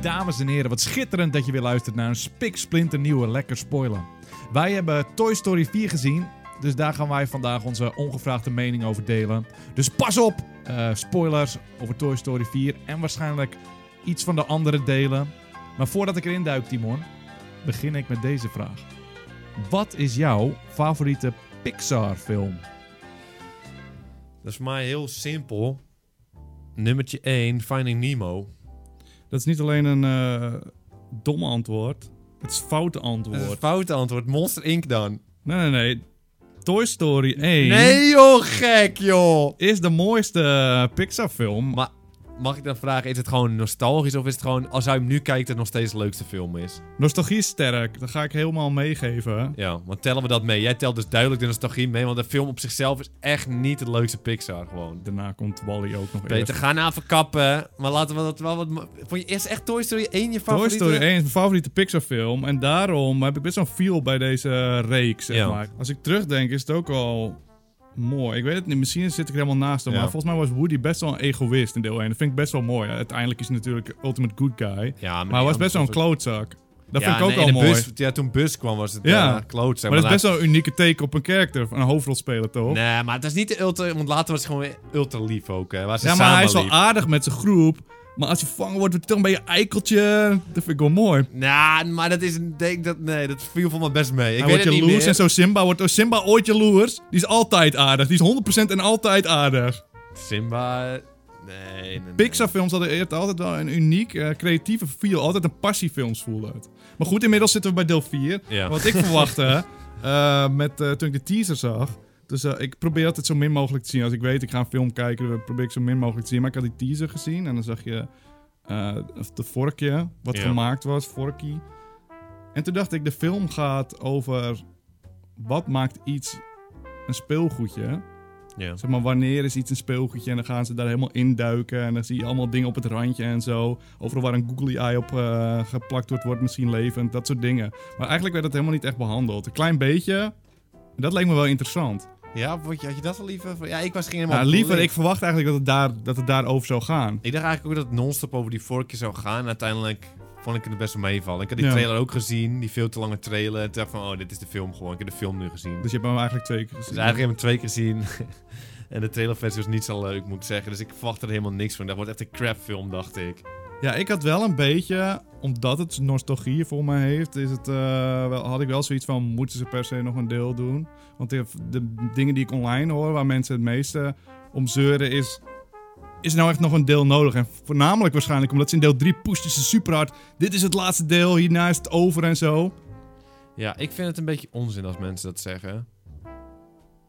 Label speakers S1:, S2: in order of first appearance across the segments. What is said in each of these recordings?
S1: Dames en heren, wat schitterend dat je weer luistert naar een spiksplinter nieuwe Lekker Spoiler. Wij hebben Toy Story 4 gezien, dus daar gaan wij vandaag onze ongevraagde mening over delen. Dus pas op! eh, spoilers over Toy Story 4 en waarschijnlijk iets van de andere delen. Maar voordat ik erin duik, Timon, begin ik met deze vraag. Wat is jouw favoriete Pixar-film?
S2: Dat is voor mij heel simpel. Nummertje 1, Finding Nemo.
S3: Dat is niet alleen een eh domme antwoord. Het is een foute
S2: Dat is een
S3: antwoord.
S2: fout antwoord. Monster Inc. dan.
S3: Nee, nee, nee. Toy Story 1
S2: Nee joh, gek joh.
S3: is de mooiste eh, Pixar-film.
S2: Maar mag ik dan vragen, is het gewoon nostalgisch of is het gewoon, als hij hem nu kijkt, het nog steeds de leukste film is?
S3: Nostalgie is sterk. Dat ga ik helemaal meegeven.
S2: Ja, want tellen we dat mee? Jij telt dus duidelijk de nostalgie mee, want de film op zichzelf is echt niet de leukste Pixar gewoon.
S3: Daarna komt Wally ook nog
S2: Peter,
S3: eerst.
S2: ga nou verkappen. Maar laten we dat wel wat... ma- Vond je eerst echt Toy Story 1 je
S3: Toy
S2: favoriete?
S3: Story 1 is mijn favoriete Pixar-film. En daarom heb ik best wel een feel bij deze reeks. Zeg
S2: Ja.
S3: maar. Als ik terugdenk, is het ook al mooi. Ik weet het niet. Misschien zit ik er helemaal naast hem.
S2: Ja.
S3: Maar volgens mij was Woody best wel een egoïst in deel 1. Dat vind ik best wel mooi. Uiteindelijk is hij natuurlijk ultimate good guy.
S2: Ja,
S3: Maar hij was best wel een klootzak. Dat vind ik ook
S2: nee,
S3: al
S2: in de
S3: mooi.
S2: Bus, ja, toen Bus kwam was het eh,
S3: Ja.
S2: ja. kloot. Zeg
S3: maar dat is best
S2: Laat-
S3: wel een unieke take op een karakter. Een hoofdrolspeler, toch?
S2: Nee, maar het is niet de ultra... Want later was hij gewoon weer ultra lief ook. Hè. Was
S3: ja, maar hij is wel aardig met zijn groep. Maar als je vangen wordt, wordt hij toch een beetje een eikeltje. Dat vind ik wel mooi.
S2: Nou, maar dat is... een- Denk dat, nee, dat viel voor me best mee. Ik
S3: hij
S2: weet
S3: wordt
S2: het niet
S3: jaloers
S2: meer.
S3: en zo Simba wordt... Oh, Simba ooit jaloers. Die is altijd aardig. Die is 100% en altijd aardig.
S2: Simba... eh, Nee, nee, nee.
S3: Pixar films hadden eerder altijd wel een uniek eh, creatieve feel. Altijd een passiefilms voelde het. Maar goed, inmiddels zitten we bij deel 4.
S2: Ja.
S3: Wat ik verwachtte, eh, met, eh, toen ik de teaser zag... Dus eh, ik probeer altijd zo min mogelijk te zien. Als ik weet, ik ga een film kijken, dan probeer ik zo min mogelijk te zien. Maar ik had die teaser gezien en dan zag je eh, of de vorkje, wat
S2: Ja.
S3: gemaakt was, vorkie. En toen dacht ik, de film gaat over wat maakt iets een speelgoedje.
S2: Ja.
S3: Zeg maar, wanneer is iets een speelgoedje? En dan gaan ze daar helemaal induiken. En dan zie je allemaal dingen op het randje en zo. Overal waar een googly eye op eh, geplakt wordt, wordt misschien levend. Dat soort dingen. Maar eigenlijk werd dat helemaal niet echt behandeld. Een klein beetje. En dat leek me wel interessant.
S2: Ja, vond je, had je dat al liever? Ja, ik was ging helemaal...
S3: Ja, liever,
S2: blind.
S3: ik verwacht eigenlijk dat het, daar, dat het daarover zou gaan.
S2: Ik dacht eigenlijk ook dat het non-stop over die vorkje zou gaan. En uiteindelijk vond ik het best wel meevallen. Ik had die
S3: Ja.
S2: trailer ook gezien. Die veel te lange trailer. En toen dacht ik van, oh, dit is de film gewoon. Ik heb de film nu gezien.
S3: Dus je hebt hem eigenlijk twee keer gezien.
S2: Dus eigenlijk heb ik hem twee keer gezien. en de trailerversie was niet zo leuk, moet ik zeggen. Dus ik verwacht er helemaal niks van. Dat wordt echt een crapfilm, dacht ik.
S3: Ja, ik had wel een beetje, omdat het nostalgie voor mij heeft, is het, eh, wel, had ik wel zoiets van, moeten ze per se nog een deel doen? Want de, de dingen die ik online hoor, waar mensen het meeste om zeuren, is... Is er nou echt nog een deel nodig? En voornamelijk waarschijnlijk omdat ze in deel 3 pushten ze super hard. Dit is het laatste deel, hierna is het over en zo.
S2: Ja, ik vind het een beetje onzin als mensen dat zeggen.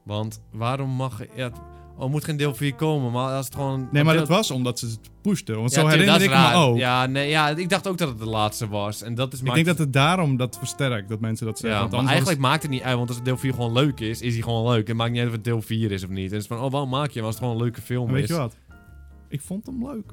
S2: Want waarom mag... Ja, het- oh, er moet geen deel 4 komen, maar als het gewoon...
S3: Nee, maar
S2: deel-
S3: dat was omdat ze het pushten. Want
S2: Ja,
S3: zo
S2: tuurlijk,
S3: herinner
S2: dat
S3: ik
S2: is
S3: me
S2: raar.
S3: ook.
S2: Ja, nee, ja, ik dacht ook dat het de laatste was. En dat is
S3: Ik denk dat het daarom dat versterkt, dat mensen dat zeggen.
S2: Ja,
S3: Want
S2: maar
S3: anders was-
S2: eigenlijk maakt het niet uit, want als deel 4 gewoon leuk is, is hij gewoon leuk. Het maakt niet uit of het deel 4 is of niet. En het is van, oh, waarom maak je hem als het gewoon een leuke film
S3: En
S2: is?
S3: Weet je wat? Ik vond hem leuk.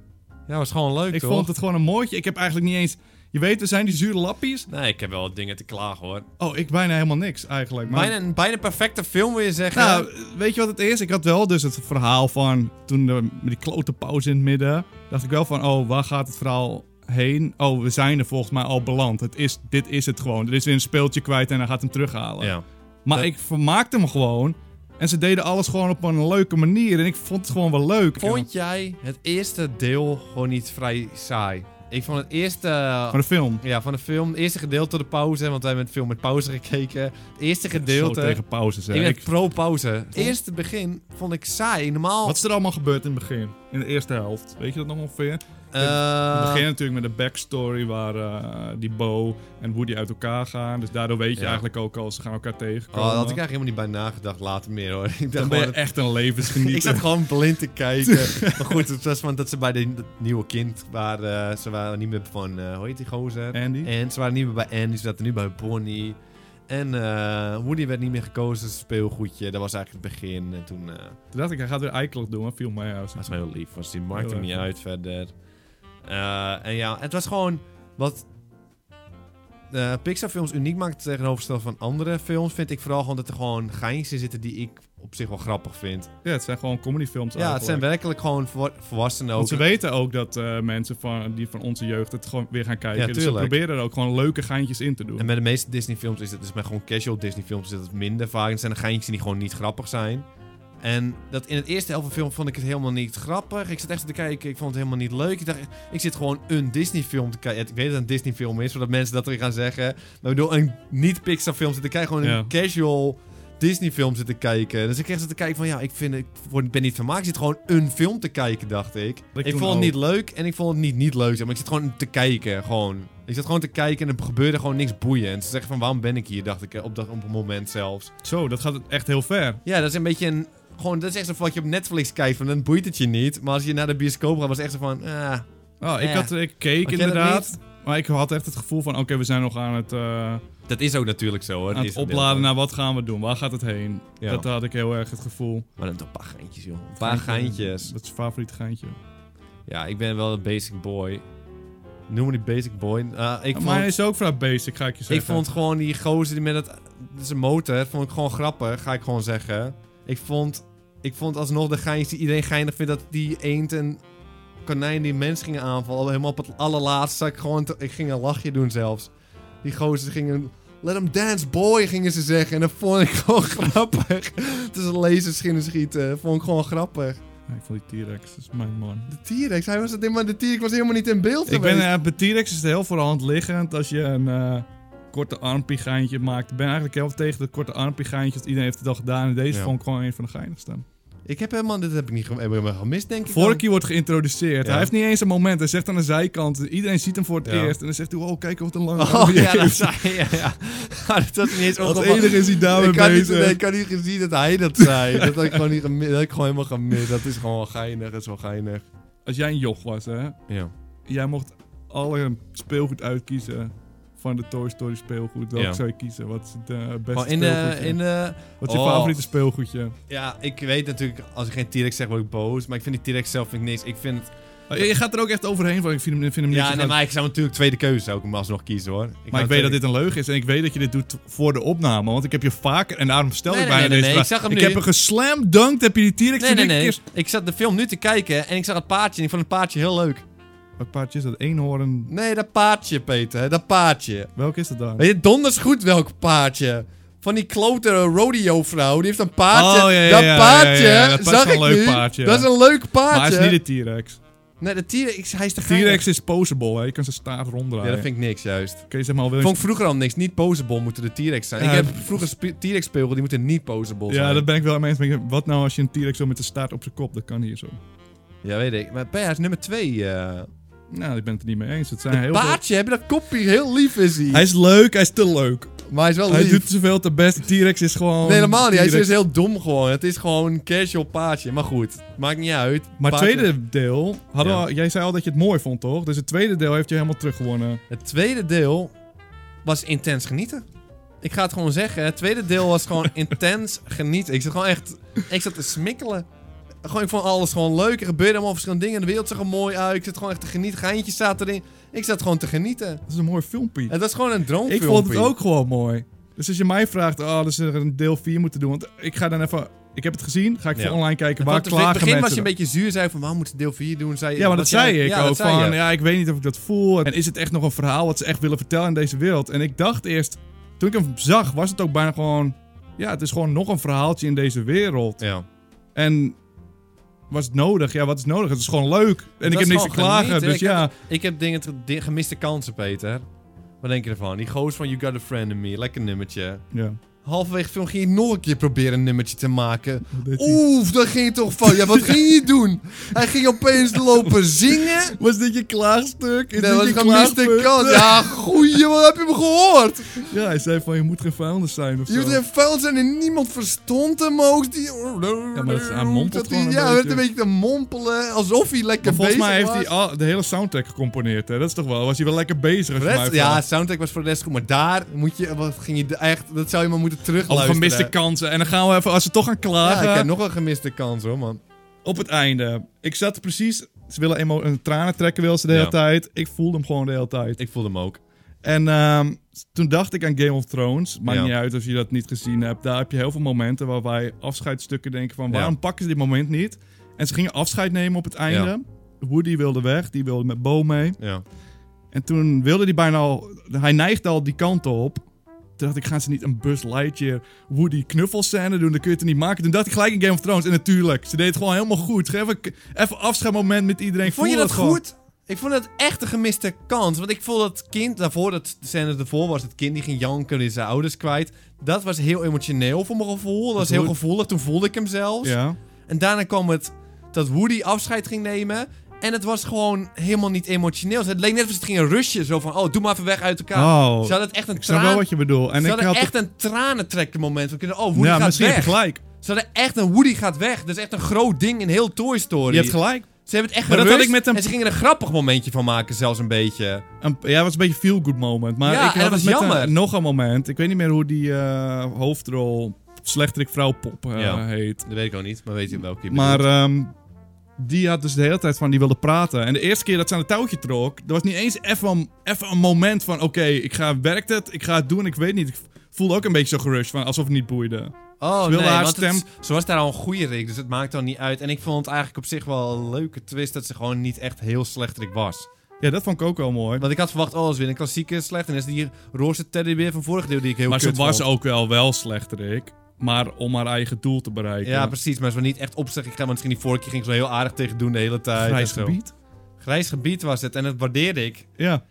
S2: Ja, het is gewoon leuk,
S3: Ik
S2: toch?
S3: vond het gewoon een mooitje. Ik heb eigenlijk niet eens. Je weet, we zijn die zure lappies.
S2: Nee, ik heb wel wat dingen te klagen, hoor.
S3: Oh, ik bijna helemaal niks eigenlijk. Maar,
S2: Bijna een bijna perfecte film, wil je zeggen?
S3: Nou, weet je wat het is? Ik had wel dus het verhaal van. Toen de, met die klote pauze in het midden. Dacht ik wel van. Oh, waar gaat het verhaal heen? Oh, we zijn er volgens mij al beland. Het is, dit is het gewoon. Er is weer een speeltje kwijt en hij gaat hem terughalen.
S2: ja.
S3: maar
S2: dat-
S3: ik vermaakte hem gewoon. En ze deden alles gewoon op een leuke manier. En ik vond het gewoon wel leuk.
S2: Vond jij het eerste deel gewoon niet vrij saai? Ik vond het eerste...
S3: Van de film.
S2: Ja, van de film. Het eerste gedeelte de pauze, want wij hebben het film met pauze gekeken. Het eerste gedeelte...
S3: Zo tegen pauze
S2: ik
S3: zeggen.
S2: ben
S3: Ik-
S2: pro-pauze. Het eerste begin vond ik saai. Normaal...
S3: Wat is er allemaal gebeurd in het begin? In de eerste helft. Weet je dat nog ongeveer?
S2: Eh,
S3: Het begint natuurlijk met de backstory waar eh, die Bo en Woody uit elkaar gaan. Dus daardoor weet je
S2: Ja.
S3: eigenlijk ook al, ze gaan elkaar tegenkomen.
S2: Oh, daar had ik eigenlijk helemaal niet bij nagedacht later meer hoor. Ik, dacht
S3: Dan ben je
S2: gewoon,
S3: echt een
S2: dat- ik
S3: levensgenieter.
S2: zat gewoon blind te kijken. maar goed, het was van dat ze bij de- dat nieuwe kind waren. eh, ze waren niet meer van, eh hoe heet die gozer?
S3: Andy?
S2: En ze waren niet meer bij Andy, ze zaten nu bij Bonnie. En eh, Woody werd niet meer gekozen als speelgoedje. Dat was eigenlijk het begin. En toen eh,
S3: Toen dacht ik, hij gaat weer eikelig doen, maar viel mij uit.
S2: was hij heel lief. Was, die maakte
S3: Heel
S2: hem niet
S3: erg.
S2: uit verder. Eh, en ja, het was gewoon wat eh, Pixar films uniek maakt tegenovergesteld van andere films. Vind ik vooral gewoon dat er gewoon geintjes in zitten die ik op zich wel grappig vind.
S3: Ja, het zijn gewoon comedyfilms.
S2: Ja, het zijn
S3: eigenlijk.
S2: werkelijk gewoon volwa- volwassenen ook.
S3: Want ze weten ook dat eh, mensen van, die van onze jeugd het gewoon weer gaan kijken.
S2: Ja,
S3: dus ze
S2: tuurlijk.
S3: proberen er ook gewoon leuke geintjes in te doen.
S2: En bij de meeste Disney-films is het dus bij gewoon casual Disney-films is het minder vaak. Het zijn de geintjes die gewoon niet grappig zijn. En dat in het eerste helft van de film vond ik het helemaal niet grappig. Ik zat echt te kijken, ik vond het helemaal niet leuk. Ik dacht, ik zit gewoon een Disney-film te kijken. Ik weet dat het een Disney-film is, zodat mensen dat erin gaan zeggen. Maar ik bedoel, een niet-Pixar-film zit te kijken, gewoon een casual Disney-film zit te kijken. Dus ik echt zat te kijken van, ja, ik, vind, ik word- ben niet vermaakt. Ik zit gewoon een film te kijken, dacht ik.
S3: Dat
S2: ik
S3: doen
S2: vond het
S3: ook.
S2: niet leuk en ik vond het niet niet leuk. zeg Maar ik zit gewoon te kijken, gewoon. Ik zat gewoon te kijken en er gebeurde gewoon niks boeiend. En ze zeggen van, waarom ben ik hier, dacht ik, eh, op, dat, op een moment zelfs.
S3: Zo, dat gaat echt heel ver.
S2: Ja, dat is een beetje een... Gewoon, dat is echt zo van wat je op Netflix kijkt, van dan boeit het je niet. Maar als je naar de bioscoop gaat, was het echt zo van, ah,
S3: Ah, ik,
S2: Ja.
S3: had, ik keek
S2: Had jij dat
S3: inderdaad. Maar ik had echt het gevoel van, oké, we zijn nog aan het, eh,
S2: dat is ook natuurlijk zo hoor.
S3: aan
S2: Is
S3: het
S2: een deel
S3: opladen
S2: van.
S3: naar wat gaan we doen. Waar gaat het heen?
S2: Ja.
S3: Dat had ik heel erg het gevoel.
S2: Maar dan toch een paar geintjes, joh. Een paar geintjes.
S3: Dat is zijn favoriet geintje.
S2: Ja, ik ben wel een basic boy. Noem me die basic boy. Ah, ik,
S3: maar hij
S2: vond,
S3: is ook vrij basic, ga ik je
S2: ik
S3: zeggen.
S2: vond gewoon die gozer die met het, zijn motor, vond ik gewoon grappig, ga ik gewoon zeggen. Ik vond, ik vond alsnog de geintjes die iedereen geinig vindt, dat die eend en konijn die mens gingen aanvallen. Helemaal op het allerlaatste, zat ik gewoon, te- ik ging een lachje doen zelfs. Die gozers gingen, let him dance boy, gingen ze zeggen. En dat vond ik gewoon grappig. Tussen lasers schinnen schieten, vond ik gewoon grappig.
S3: Ja, ik vond die T-Rex, dat is mijn man.
S2: De T-Rex, hij was het helemaal, de T-Rex was helemaal niet in beeld
S3: Ik
S2: geweest.
S3: ben, eh, bij T-Rex is het heel voor de hand liggend als je een eh, korte armpigaantje maakt. Ik ben eigenlijk heel tegen de korte armpigaantjes. Iedereen heeft het al gedaan. En deze
S2: Ja.
S3: vond ik gewoon een van de geinigste.
S2: Ik heb helemaal, dit heb ik niet gem- heb ik helemaal gemist, denk ik. dan.
S3: Vorky wordt geïntroduceerd.
S2: Ja.
S3: Hij heeft niet eens een moment. Hij zegt aan de zijkant. Iedereen ziet hem voor het
S2: Ja.
S3: eerst. En dan zegt hij, wow, kijk wat een lange
S2: Oh
S3: arm die
S2: ja, dat
S3: heeft.
S2: zei je. Ja. Ja, dat was niet eens
S3: Als
S2: opgevallen.
S3: enige is hij daarmee
S2: Ik kan, niet,
S3: bezig.
S2: nee, ik kan niet gezien dat hij dat zei. dat, had ik gewoon niet gemi- dat had ik gewoon helemaal gemist. Dat is gewoon wel geinig. Dat is wel geinig.
S3: Als jij een joch was, hè.
S2: Ja.
S3: Jij mocht alle speelgoed uitkiezen van de Toy Story speelgoed. Welk
S2: Ja.
S3: zou je kiezen? Wat is het eh, beste
S2: Gewoon in de,
S3: speelgoedje?
S2: in de...
S3: Wat is je
S2: Oh.
S3: favoriete speelgoedje?
S2: Ja, ik weet natuurlijk... Als ik geen T-Rex zeg, word ik boos. Maar ik vind die T-Rex zelf vind ik niks. Ik vind het...
S3: Oh, je gaat er ook echt overheen van. Ik vind hem, ik vind hem niet
S2: Ja,
S3: zo
S2: nee,
S3: gaaf.
S2: maar ik zou natuurlijk tweede keuze zou ik hem alsnog kiezen, hoor.
S3: Maar ik weet dat dit een leugen is en ik weet dat je dit doet voor de opname. Want ik heb je vaker, en daarom stel
S2: Nee,
S3: ik
S2: nee,
S3: bijna
S2: nee, nee,
S3: deze
S2: nee,
S3: vraag.
S2: ik zag hem
S3: ik
S2: nu.
S3: heb een geslamd dunkt, heb je die T-Rex
S2: Nee, nee,
S3: drie
S2: nee.
S3: keer...
S2: Ik zat de film nu te kijken en ik zag het paardje en ik vond het paardje heel leuk.
S3: Wat paardje is dat? Eenhoorn?
S2: Nee, dat paardje, Peter. Dat paardje.
S3: Welk is dat dan?
S2: Weet je donders goed welk paardje? Van die klote rodeo-vrouw, die heeft een paardje.
S3: Oh, ja, ja,
S2: dat
S3: ja,
S2: paardje,
S3: ja, ja, ja. Dat is
S2: zag
S3: wel
S2: ik
S3: een leuk
S2: nu.
S3: paardje,
S2: Dat
S3: ja.
S2: is een leuk paardje.
S3: Maar het is niet de T-Rex.
S2: Nee, de T-Rex, hij is te geinig.
S3: T-Rex is posable, hè. Je kan zijn staaf
S2: Ja,
S3: ronddraaien.
S2: dat vind ik niks, juist.
S3: Kun je zeg maar al wel
S2: Vond ik vroeger al niks. Niet posable moeten de T-Rex zijn.
S3: Ja,
S2: ik heb vroeger spe- T-Rex speelgoed, die moeten niet posable zijn.
S3: Ja, dat ben ik wel mee eens. Maar Wat nou als je een T-Rex wil met de staart op zijn kop? Dat kan hier zo.
S2: Ja, weet ik. Maar Peter, hij is nummer twee. eh
S3: Nou, ik ben het er niet mee eens. Het zijn
S2: Dat
S3: heel veel-
S2: paardje, hebben dat kopje, heel lief is hij.
S3: Hij is leuk, hij is te leuk.
S2: Maar hij is wel
S3: Hij
S2: lief.
S3: doet zoveel te best. T-Rex is gewoon...
S2: Nee, helemaal niet. Hij is
S3: T-Rex.
S2: dus heel dom gewoon. Het is gewoon een casual paardje. Maar goed, maakt niet uit.
S3: Maar het
S2: Paardje-
S3: tweede deel, hadden we
S2: Ja.
S3: al- jij zei al dat je het mooi vond, toch? Dus het tweede deel heeft je helemaal teruggewonnen.
S2: Het tweede deel was intens genieten. Ik ga het gewoon zeggen. Het tweede deel was gewoon intens genieten. Ik zat gewoon echt... Ik zat te smikkelen. Gewoon, ik vond alles gewoon leuk. Er gebeurde allemaal verschillende dingen. De wereld zag er mooi uit. Ik zat gewoon echt te genieten. Geintjes zaten erin. Ik zat gewoon te genieten.
S3: Dat is een mooi filmpje.
S2: Het was gewoon een
S3: Ik
S2: droomfilmpje.
S3: vond het ook gewoon mooi. Dus als je mij vraagt, oh, dat ze er een deel 4 moeten doen. Want ik ga dan even, ik heb het gezien, ga ik
S2: Ja.
S3: voor online kijken.
S2: Want
S3: Waar
S2: in het
S3: klagen
S2: begin was
S3: mensen
S2: je een
S3: dan?
S2: beetje zuur. Zei van, waarom moeten ze deel 4 doen? Zei,
S3: Ja, maar dat
S2: wat
S3: zei
S2: jij-
S3: ik
S2: ja, dat
S3: ook.
S2: zei
S3: Van,
S2: je.
S3: ja, ik weet niet of ik dat voel. En is het echt nog een verhaal wat ze echt willen vertellen in deze wereld? En ik dacht eerst, toen ik hem zag, was het ook bijna gewoon... Ja, het is gewoon nog een verhaaltje in deze wereld.
S2: Ja.
S3: En was het nodig? Ja, wat is nodig? Het is gewoon leuk. En ik
S2: was
S3: heb niks te
S2: gewoon
S3: klagen.
S2: genieten.
S3: Dus
S2: Ik heb-
S3: ja,
S2: Ik heb dingen te- di- gemiste kansen, Peter. Wat denk je ervan? Die goos van You Got A Friend In Me. Lekker nummertje.
S3: ja.
S2: Halverwege de film ging je nog een keer proberen een nummertje te maken.
S3: Wat deed hij?
S2: Oef, dat ging je toch van. Ja, wat ging je doen? Hij ging opeens lopen zingen.
S3: Was dit je klaagstuk? Is
S2: Dat
S3: dit
S2: was
S3: je
S2: een gemiste
S3: klaagpunt?
S2: kans. Ja, goeie, wat heb je me gehoord?
S3: Ja, hij zei van je moet geen vuilnis zijn of
S2: Je moet
S3: zo.
S2: een vuil zijn en niemand verstond hem ook. Die... Ja,
S3: maar dat- hij mompelt gewoon een
S2: Ja, hij werd een
S3: beetje.
S2: beetje te mompelen. Alsof hij lekker
S3: Maar volgens
S2: bezig
S3: mij heeft
S2: was.
S3: hij al- de hele soundtrack gecomponeerd. Hè? Dat is toch wel, was hij wel lekker bezig. als je
S2: Voor de
S3: mij
S2: rest-
S3: vraagt.
S2: ja, soundtrack was voor de rest goed, maar daar moet je, wat ging je d- echt, dat zou je maar moeten
S3: Of
S2: terugluisteren.
S3: gemiste kansen. En dan gaan we even, als ze toch gaan
S2: Ja,
S3: klagen.
S2: ik heb nog een gemiste kans hoor, man.
S3: Op het einde. Ik zat precies. Ze willen emo- een tranen trekken, wil ze de hele
S2: Ja.
S3: tijd. Ik voelde hem gewoon de hele tijd.
S2: Ik voelde hem ook.
S3: En ehm, toen dacht ik aan Game of Thrones. Maakt
S2: Ja.
S3: niet uit als je dat niet gezien hebt. Daar heb je heel veel momenten waar wij afscheidsstukken denken van... waarom
S2: Ja.
S3: pakken ze dit moment niet? En ze gingen afscheid nemen op het einde. Woody wilde weg, die wilde met Bo mee.
S2: Ja.
S3: En toen wilde hij bijna al... Hij neigde al die kant op. Toen dacht ik, gaan ze niet een Buzz Lightyear Woody knuffelscène doen? Dan kun je het er niet maken. Toen dacht ik gelijk in Game of Thrones. En natuurlijk, ze deed het gewoon helemaal goed. Geef even, even afscheidmoment met iedereen.
S2: Vond je
S3: Voel
S2: dat
S3: gewoon.
S2: goed? Ik vond het echt een gemiste kans. Want ik vond dat kind daarvoor, dat scène ervoor was, het kind die ging janken, die zijn ouders kwijt. Dat was heel emotioneel voor mijn gevoel. Dat was heel
S3: bedoel-
S2: gevoelig. Toen voelde ik hem zelfs.
S3: Ja.
S2: En daarna kwam het dat Woody afscheid ging nemen. En het was gewoon helemaal niet emotioneel. Het leek net alsof ze het gingen rushen. Zo van, oh, doe maar even weg uit elkaar.
S3: Oh.
S2: Ze hadden het echt een
S3: Ik snap wel
S2: traan...
S3: wat je bedoelt. En
S2: Ze
S3: ik
S2: hadden
S3: had
S2: echt een tranentrekker moment. We kunnen, oh, Woody
S3: Ja,
S2: gaat
S3: misschien heb
S2: weg.
S3: je gelijk.
S2: Ze hadden echt een Woody gaat weg. Dat is echt een groot ding in heel Toy Story.
S3: Je hebt gelijk.
S2: Ze hebben het echt
S3: Maar dat had
S2: gerust
S3: ik met hem-
S2: En ze gingen er een grappig momentje van maken, zelfs een beetje.
S3: Een, ja, het was een beetje feel good moment. Maar
S2: Ja,
S3: ik had
S2: en dat
S3: het
S2: was
S3: met
S2: jammer.
S3: Een, nog een moment. Ik weet niet meer hoe die eh, hoofdrol slechterik vrouw Pop eh,
S2: Ja.
S3: heet.
S2: Dat weet ik ook niet, maar weet je welke je
S3: Maar
S2: bedoelt.
S3: ehm, die had dus de hele tijd van die wilde praten. En de eerste keer dat ze aan het touwtje trok, er was niet eens even, een- even een moment van: oké, ik ga, werkt het? Ik ga het doen. Ik weet niet. Ik voelde ook een beetje zo gerust van alsof het niet boeide.
S2: oh,
S3: eh, ze wilde
S2: nee,
S3: haar
S2: want het-
S3: stem-
S2: ze was daar al een goede Rick, dus het maakt dan niet uit. En ik vond het eigenlijk op zich wel een leuke twist dat ze gewoon niet echt heel slechterik was.
S3: Ja, dat vond ik ook wel mooi.
S2: Want ik had verwacht, oh, dat is weer een klassieke slecht. En is die roze teddybeer van vorig deel die ik heel
S3: Maar ze
S2: kut
S3: was
S2: vond.
S3: ook wel wel slechterik. Maar om haar eigen doel te bereiken.
S2: Ja, precies, maar ze was niet echt opzegging gaan, want misschien die vorige keer ging ze wel heel aardig tegen doen de hele tijd.
S3: Grijs
S2: en zo.
S3: gebied.
S2: Grijs gebied was het en dat waardeerde ik.
S3: Ja.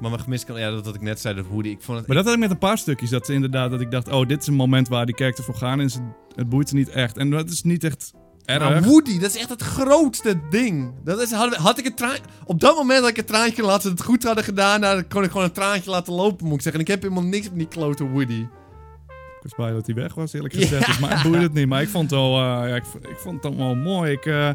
S2: Maar mijn gemist, ja, dat wat ik net zei, dat Woody, ik vond het...
S3: Maar dat had ik met een paar stukjes. Dat ze inderdaad, dat ik dacht, oh, dit is een moment waar die characters voor gaan. En ze, het boeit ze niet echt. En dat is niet echt erg.
S2: Maar Woody, dat is echt het grootste ding. Dat is, had, had ik het traan- op dat moment had ik het traantje kunnen laten ze het goed hadden gedaan. Nou, dan kon ik gewoon een traantje laten lopen, moet ik zeggen. En ik heb helemaal niks met die klote Woody.
S3: Ik was blij dat hij weg was, eerlijk
S2: Ja.
S3: gezegd. Dus, maar het boeit het niet. Maar ik vond het wel, eh, ja, ik, v- ik vond het wel mooi. Ik, eh,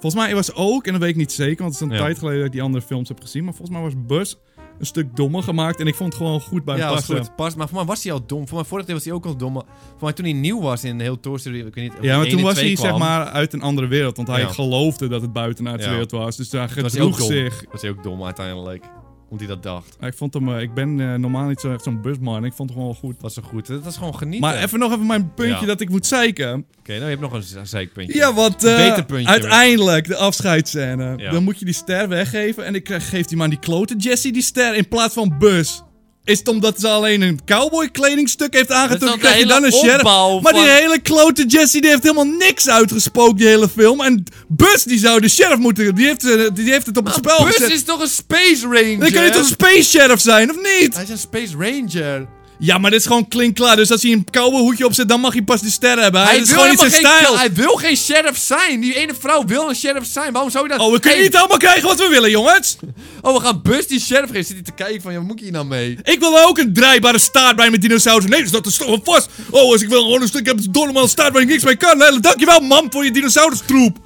S3: volgens mij was ook, en dat weet ik niet zeker, want het is een
S2: Ja.
S3: tijd geleden dat ik die andere films heb gezien. Maar volgens mij was Buzz een stuk dommer gemaakt. En ik vond het gewoon goed bij
S2: ja,
S3: hem
S2: was
S3: passen.
S2: goed. Pas, maar voor mij was hij al dom. Voor mij vorig jaar was hij ook al dom. Maar voor mij toen hij nieuw was in heel Toy Story, ik weet niet. of
S3: Ja, maar
S2: één
S3: toen
S2: en
S3: was
S2: twee
S3: hij
S2: kwam,
S3: zeg maar uit een andere wereld. Want hij
S2: Ja.
S3: geloofde dat het buitenaardse
S2: Ja.
S3: wereld was. Dus daar
S2: was hij ook
S3: gedroeg
S2: dom.
S3: zich.
S2: Was hij ook dom uiteindelijk. Omdat hij dat dacht.
S3: Ja, Ik, vond hem, eh, ik ben eh, normaal niet zo echt zo'n busman. Ik vond hem gewoon goed.
S2: Was zo goed. Dat was gewoon genieten.
S3: Maar even nog even mijn puntje
S2: Ja.
S3: dat ik moet zeiken.
S2: Oké, nou je hebt nog een ze- zeikpuntje.
S3: Ja, want eh,
S2: Beter puntje.
S3: uiteindelijk de afscheidsscène.
S2: Ja.
S3: Dan moet je die ster weggeven. En ik krijg- geef die man die klote Jesse die ster in plaats van Bus. Is het omdat ze alleen een cowboy kledingstuk heeft
S2: Dat
S3: aangetrokken?
S2: is
S3: Krijg je
S2: al de
S3: dan een
S2: hele
S3: sheriff?
S2: opbouw
S3: Maar die
S2: van-
S3: hele klote Jesse die heeft helemaal niks uitgespookt die hele film. En Bus die zou de sheriff moeten. Die heeft, eh, die heeft het op het spel
S2: Bus
S3: gezet.
S2: is toch een Space Ranger?
S3: Dan kan je toch een space sheriff zijn, of niet?
S2: Hij is een Space Ranger.
S3: Ja, maar dit is gewoon klinkklaar. Dus als hij een koude hoedje opzet, dan mag hij pas die sterren hebben. Hij, is gewoon niet zijn
S2: helemaal geen-
S3: stijl.
S2: Hij wil geen sheriff zijn. Die ene vrouw wil een sheriff zijn. Waarom zou je dat...
S3: Oh, we kunnen
S2: Hey,
S3: niet allemaal krijgen wat we willen, jongens.
S2: Oh, we gaan Bus die sheriff geven. Zit hij te kijken van, ja, wat moet ik hier nou mee?
S3: Ik wil ook een draaibare staart bij mijn dinosaurus. Nee, dus dat is toch wel vast. Oh, als ik wil gewoon een stuk hebben, een donormaal staart waar ik niks mee kan. Nou, Dankjewel, mam, voor je dinosaurustroep.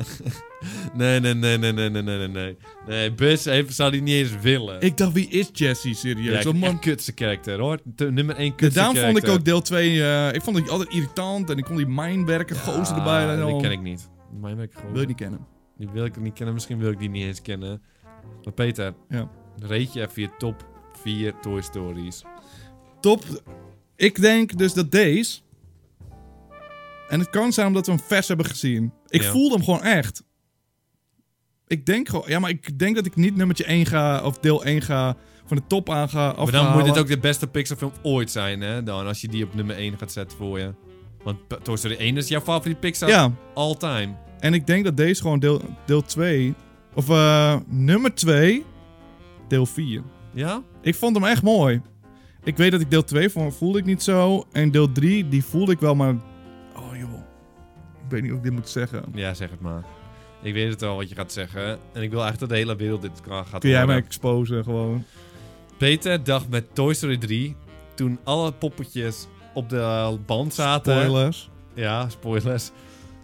S2: Nee, nee, nee, nee, nee, nee, nee, nee, nee. Nee, Bus heeft, zou die niet eens willen.
S3: Ik dacht, wie is Jesse, serieus?
S2: ja, ik
S3: Oh,
S2: heb
S3: man.
S2: echt eh. kutse karakter, hoor. Te- nummer 1 kutse
S3: Daarom vond ik
S2: karakter.
S3: ook deel 2... ik vond het altijd irritant en ik kon die mijnwerken, gozer erbij. en
S2: Ah,
S3: al.
S2: die ken ik niet. Mijn werk gewoon.
S3: Wil je niet kennen.
S2: Die wil ik niet kennen. Misschien wil ik die niet eens kennen. Maar Peter,
S3: Ja.
S2: reed je even je top 4 Toy Stories.
S3: Top. Ik denk dus dat deze... En het kan zijn omdat we hem vers hebben gezien. Ik
S2: Ja.
S3: voelde hem gewoon echt. Ik denk gewoon... Ja, maar ik denk dat ik niet nummertje 1 ga... Of deel 1 ga... Van de top aan ga
S2: Maar dan moet
S3: het
S2: dit ook de beste Pixar-film ooit zijn, hè? Dan, als je die op nummer 1 gaat zetten voor je. Want P- Toy Story 1 is jouw favoriete Pixar
S3: Ja,
S2: all time.
S3: en ik denk dat deze gewoon deel, deel 2... Of eh, nummer 2, deel 4.
S2: Ja?
S3: Ik vond hem echt mooi. Ik weet dat ik deel 2 vond, voelde ik niet zo. En deel 3, die voelde ik wel, maar... Oh joh, ik weet niet of ik dit moet zeggen.
S2: Ja, zeg het maar. Ik weet het al wat je gaat zeggen. En ik wil eigenlijk dat de hele wereld dit kan- gaat
S3: Kun jij mij
S2: horen.
S3: exposen gewoon?
S2: Peter dacht met Toy Story 3, toen alle poppetjes op de band zaten...
S3: Spoilers.
S2: Ja, spoilers.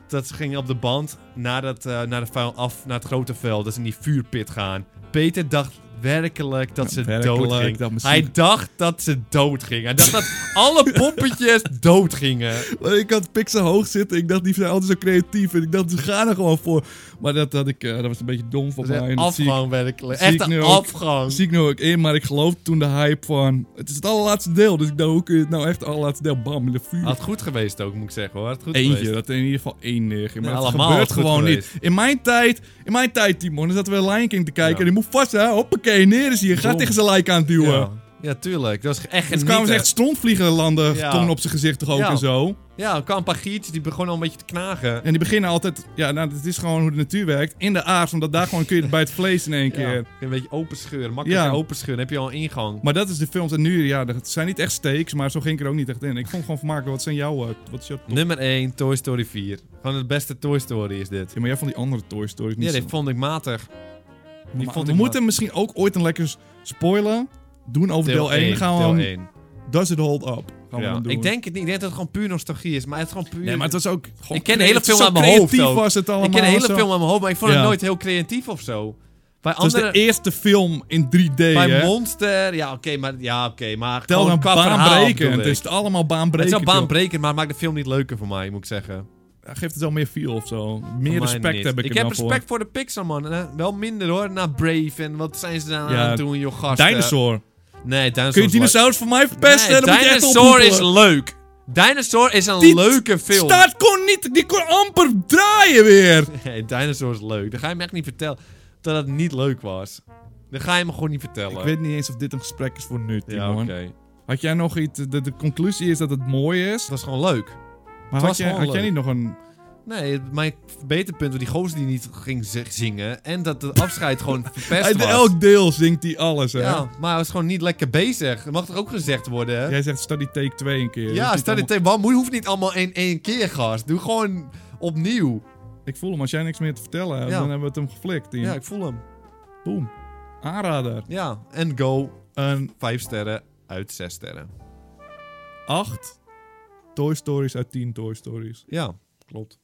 S2: Dat ze gingen op de band naar, dat, eh, naar, de vuil, af, naar het grote vuil. Dat ze in die vuurpit gaan. Peter dacht werkelijk dat ze
S3: Werkelijk,
S2: dood ging.
S3: dat misschien-
S2: Hij dacht dat ze dood ging. Hij dacht dat alle poppetjes dood gingen.
S3: Ik had Pixar hoog zitten. Ik dacht, die zijn altijd zo creatief. En ik dacht, ze gaan er gewoon voor. Maar dat, had ik, eh, dat was een beetje dom voor
S2: Dat
S3: mij.
S2: is
S3: En
S2: echt
S3: dat zie ik-
S2: afgang werkelijk.
S3: zie ik
S2: Echt
S3: nu
S2: een
S3: ook.
S2: afgang.
S3: zie ik nu ook in, maar ik geloof toen de hype van... Het is het allerlaatste deel, dus ik dacht, hoe kun je het nou echt het allerlaatste deel? Bam, in de vuur.
S2: Had goed geweest ook, moet ik zeggen hoor. Had goed
S3: Eentje,
S2: geweest.
S3: dat er in ieder geval één neerging. Maar
S2: Ja,
S3: dat
S2: allemaal
S3: gebeurt
S2: was goed
S3: gewoon niet.
S2: geweest.
S3: In mijn tijd, in mijn tijd, Timon, dan zaten we Lion King te kijken.
S2: Ja.
S3: En die moet vast, hè? Hoppakee, neer is hier. Ga
S2: Dom.
S3: tegen zijn lijk aan duwen.
S2: ja. ja, tuurlijk. Dat was echt
S3: Dus
S2: genieten.
S3: kwamen ze echt strontvliegen landen
S2: Ja.
S3: toen op zijn gezicht toch ook
S2: Ja.
S3: en zo.
S2: Ja, er kwamen een paar giertjes die begonnen al een beetje te knagen.
S3: En die beginnen altijd... Ja, nou, het is gewoon hoe de natuur werkt. In de aard, omdat daar gewoon kun je het bij het vlees in één keer...
S2: Ja, een beetje openscheuren, makkelijk
S3: Ja.
S2: openscheuren. Dan heb je al een ingang.
S3: Maar dat is de films. En nu, ja, dat zijn niet echt steaks, maar zo ging ik er ook niet echt in. Ik vond gewoon vermakelijk. Wat zijn jouw... eh, wat is jouw top?
S2: Nummer 1, Toy Story 4. Gewoon het beste Toy Story is dit.
S3: Ja, maar jij vond die andere Toy Stories niet
S2: Ja,
S3: zo.
S2: dit vond ik matig. die
S3: Maar
S2: vond
S3: we
S2: ik
S3: moeten misschien ook ooit een lekker spoiler doen over deel, 1. Gaan we
S2: deel
S3: hem-
S2: 1.
S3: Does it hold up? Gaan we
S2: Ja.
S3: hem doen.
S2: Ik denk het niet. Ik denk dat het gewoon puur nostalgie is. Maar het is gewoon puur...
S3: Nee, maar het was ook... gewoon
S2: Ik ken de hele
S3: creatief.
S2: film
S3: Zo
S2: aan mijn hoofd
S3: creatief
S2: ook.
S3: was het allemaal.
S2: ik ken de hele
S3: zo.
S2: film aan mijn hoofd, maar ik vond
S3: Ja.
S2: het nooit heel creatief of zo. Bij
S3: Het was
S2: andere...
S3: de eerste film in 3D,
S2: bij Oh,
S3: hè?
S2: Monster... Ja, oké, maar... Ja, oké, maar...
S3: Tel
S2: gewoon
S3: dan
S2: qua verhaal bedoel
S3: baanbrekend.
S2: ik.
S3: Het is allemaal
S2: Het is
S3: baanbrekend.
S2: wel baanbrekend, maar het maakt de film niet leuker voor mij, moet ik zeggen.
S3: joh. Hij geeft het wel meer feel of zo. Meer
S2: Voor mij
S3: respect
S2: niet.
S3: heb ik,
S2: Ik
S3: er
S2: heb
S3: dan voor.
S2: respect voor. de Pixar, man. Eh, Wel minder, hoor. Na Brave en wat zijn ze daar
S3: Ja,
S2: aan het doen, joh, gasten.
S3: Dinosaur.
S2: Nee, Dinosaur
S3: Kun je
S2: is leuk.
S3: dinosaurus voor mij
S2: Nee,
S3: verpesten? Dan moet je echt
S2: Dinosaur is
S3: ophoepelen.
S2: leuk. Dinosaur is een
S3: Die
S2: leuke film.
S3: Staart kon niet, die kon amper draaien weer.
S2: Nee, Dinosaur is leuk. Dan ga je me echt niet vertellen dat het niet leuk was. Dan ga je me gewoon niet vertellen.
S3: Ik weet niet eens of dit een gesprek is voor nu,
S2: ja,
S3: Timon.
S2: oké.
S3: Had jij nog iets... De, de conclusie is dat het mooi is.
S2: Het was gewoon leuk.
S3: Maar
S2: was
S3: had, jij,
S2: gewoon
S3: had jij
S2: leuk.
S3: niet nog een...
S2: Nee, het- mijn verbeterpunt was die gozer die niet ging z- zingen. En dat het afscheid gewoon verpest
S3: Uit
S2: was.
S3: elk deel zingt hij alles, hè?
S2: ja, maar hij was gewoon niet lekker bezig. Dat mag toch ook gezegd worden, hè? Ja,
S3: Jij zegt study take 2 een keer. Dat is
S2: ja
S3: niet
S2: stel je
S3: allemaal-
S2: tegen. Waarom hoeft niet allemaal in één keer, gast? Doe gewoon opnieuw.
S3: Ik voel hem, als jij niks meer te vertellen hebt,
S2: Ja.
S3: dan hebben we het hem geflikt. Tim.
S2: Ja, ik voel hem.
S3: Boom. Aanrader.
S2: Ja, en go.
S3: Een
S2: Vijf sterren uit zes sterren.
S3: 8 Toy Stories uit 10 Toy Stories.
S2: Ja, klopt.